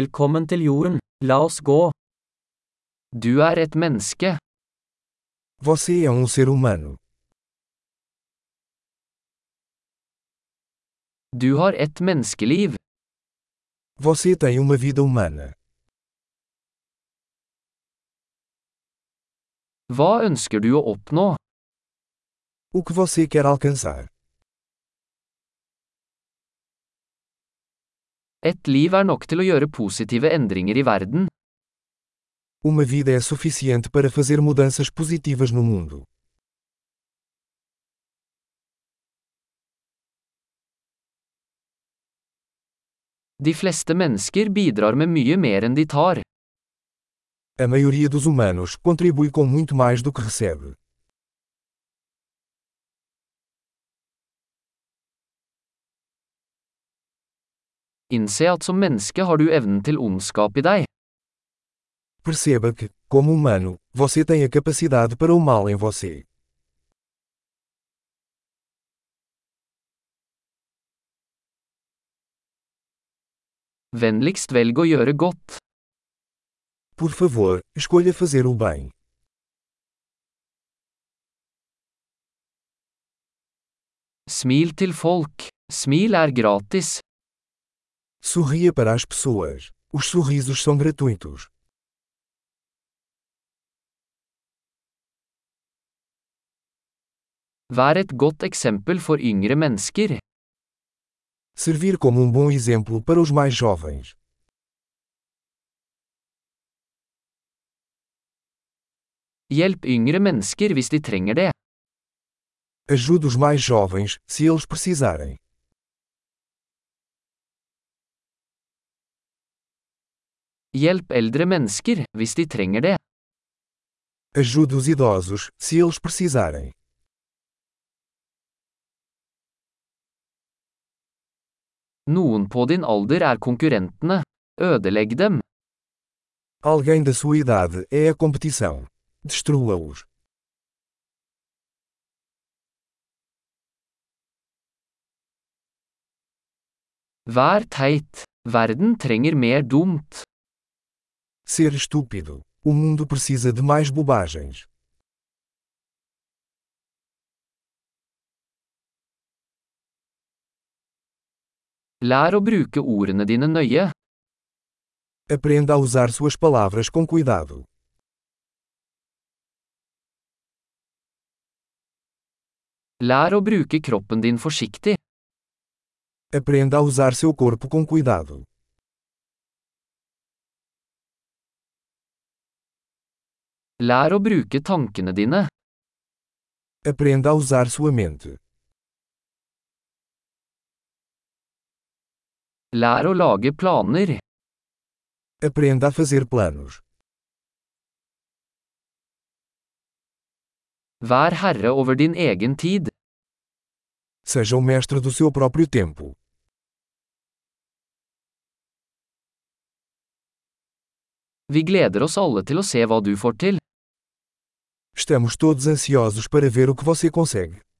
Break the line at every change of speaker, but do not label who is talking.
Velkommen til jorden, la oss gå. Du er et menneske.
Você é um ser humano.
Du har et menneskeliv.
Você tem uma vida humana.
Hva ønsker du å oppnå?
O que você quer alcançar?
Et liv er nok til å gjøre positive endringer i verden.
Uma vida é suficiente para fazer mudanças positivas no mundo.
De fleste mennesker bidrar med mye mer enn de tar.
A maioria dos humanos contribui com muito mais do que recebe.
Innse at som menneske har du evnen til ondskap i deg.
Perceba que, como humano, você tem a capacidade para o mal em você.
Vennligst velg å gjøre godt.
Por favor, escolha fazer o bem.
Smil til folk. Smil er gratis.
Sorria para as pessoas. Os sorrisos são gratuitos.
Vær et godt eksempel for yngre mennesker.
Servir como um bom exemplo para os mais jovens.
Hjelp yngre mennesker hvis de trenger det.
Ajude os mais jovens, se eles precisarem.
Hjelp eldre mennesker hvis de trenger det.
Ajude os idosos, se eles precisarem.
Noen på din alder er konkurrentene. Ødelegg dem.
Alguém da sua idade é a competição. Destrua-os.
Vær teit. Verden trenger mer dumt.
Ser estúpido. O mundo precisa de mais bobagens.
Lær å bruke ordene dine nøye.
Aprenda a usar suas palavras com cuidado.
Lær å bruke kroppen din forsiktig.
Aprenda a usar seu corpo com cuidado.
Lær å bruke tankene dine.
Aprenda a usar sua mente.
Lær å lage planer.
Aprenda a fazer planos.
Vær herre over din egen tid.
Seja o mestre do seu próprio tempo.
Vi gleder oss alle til å se hva du får til.
Estamos todos ansiosos para ver o que você consegue.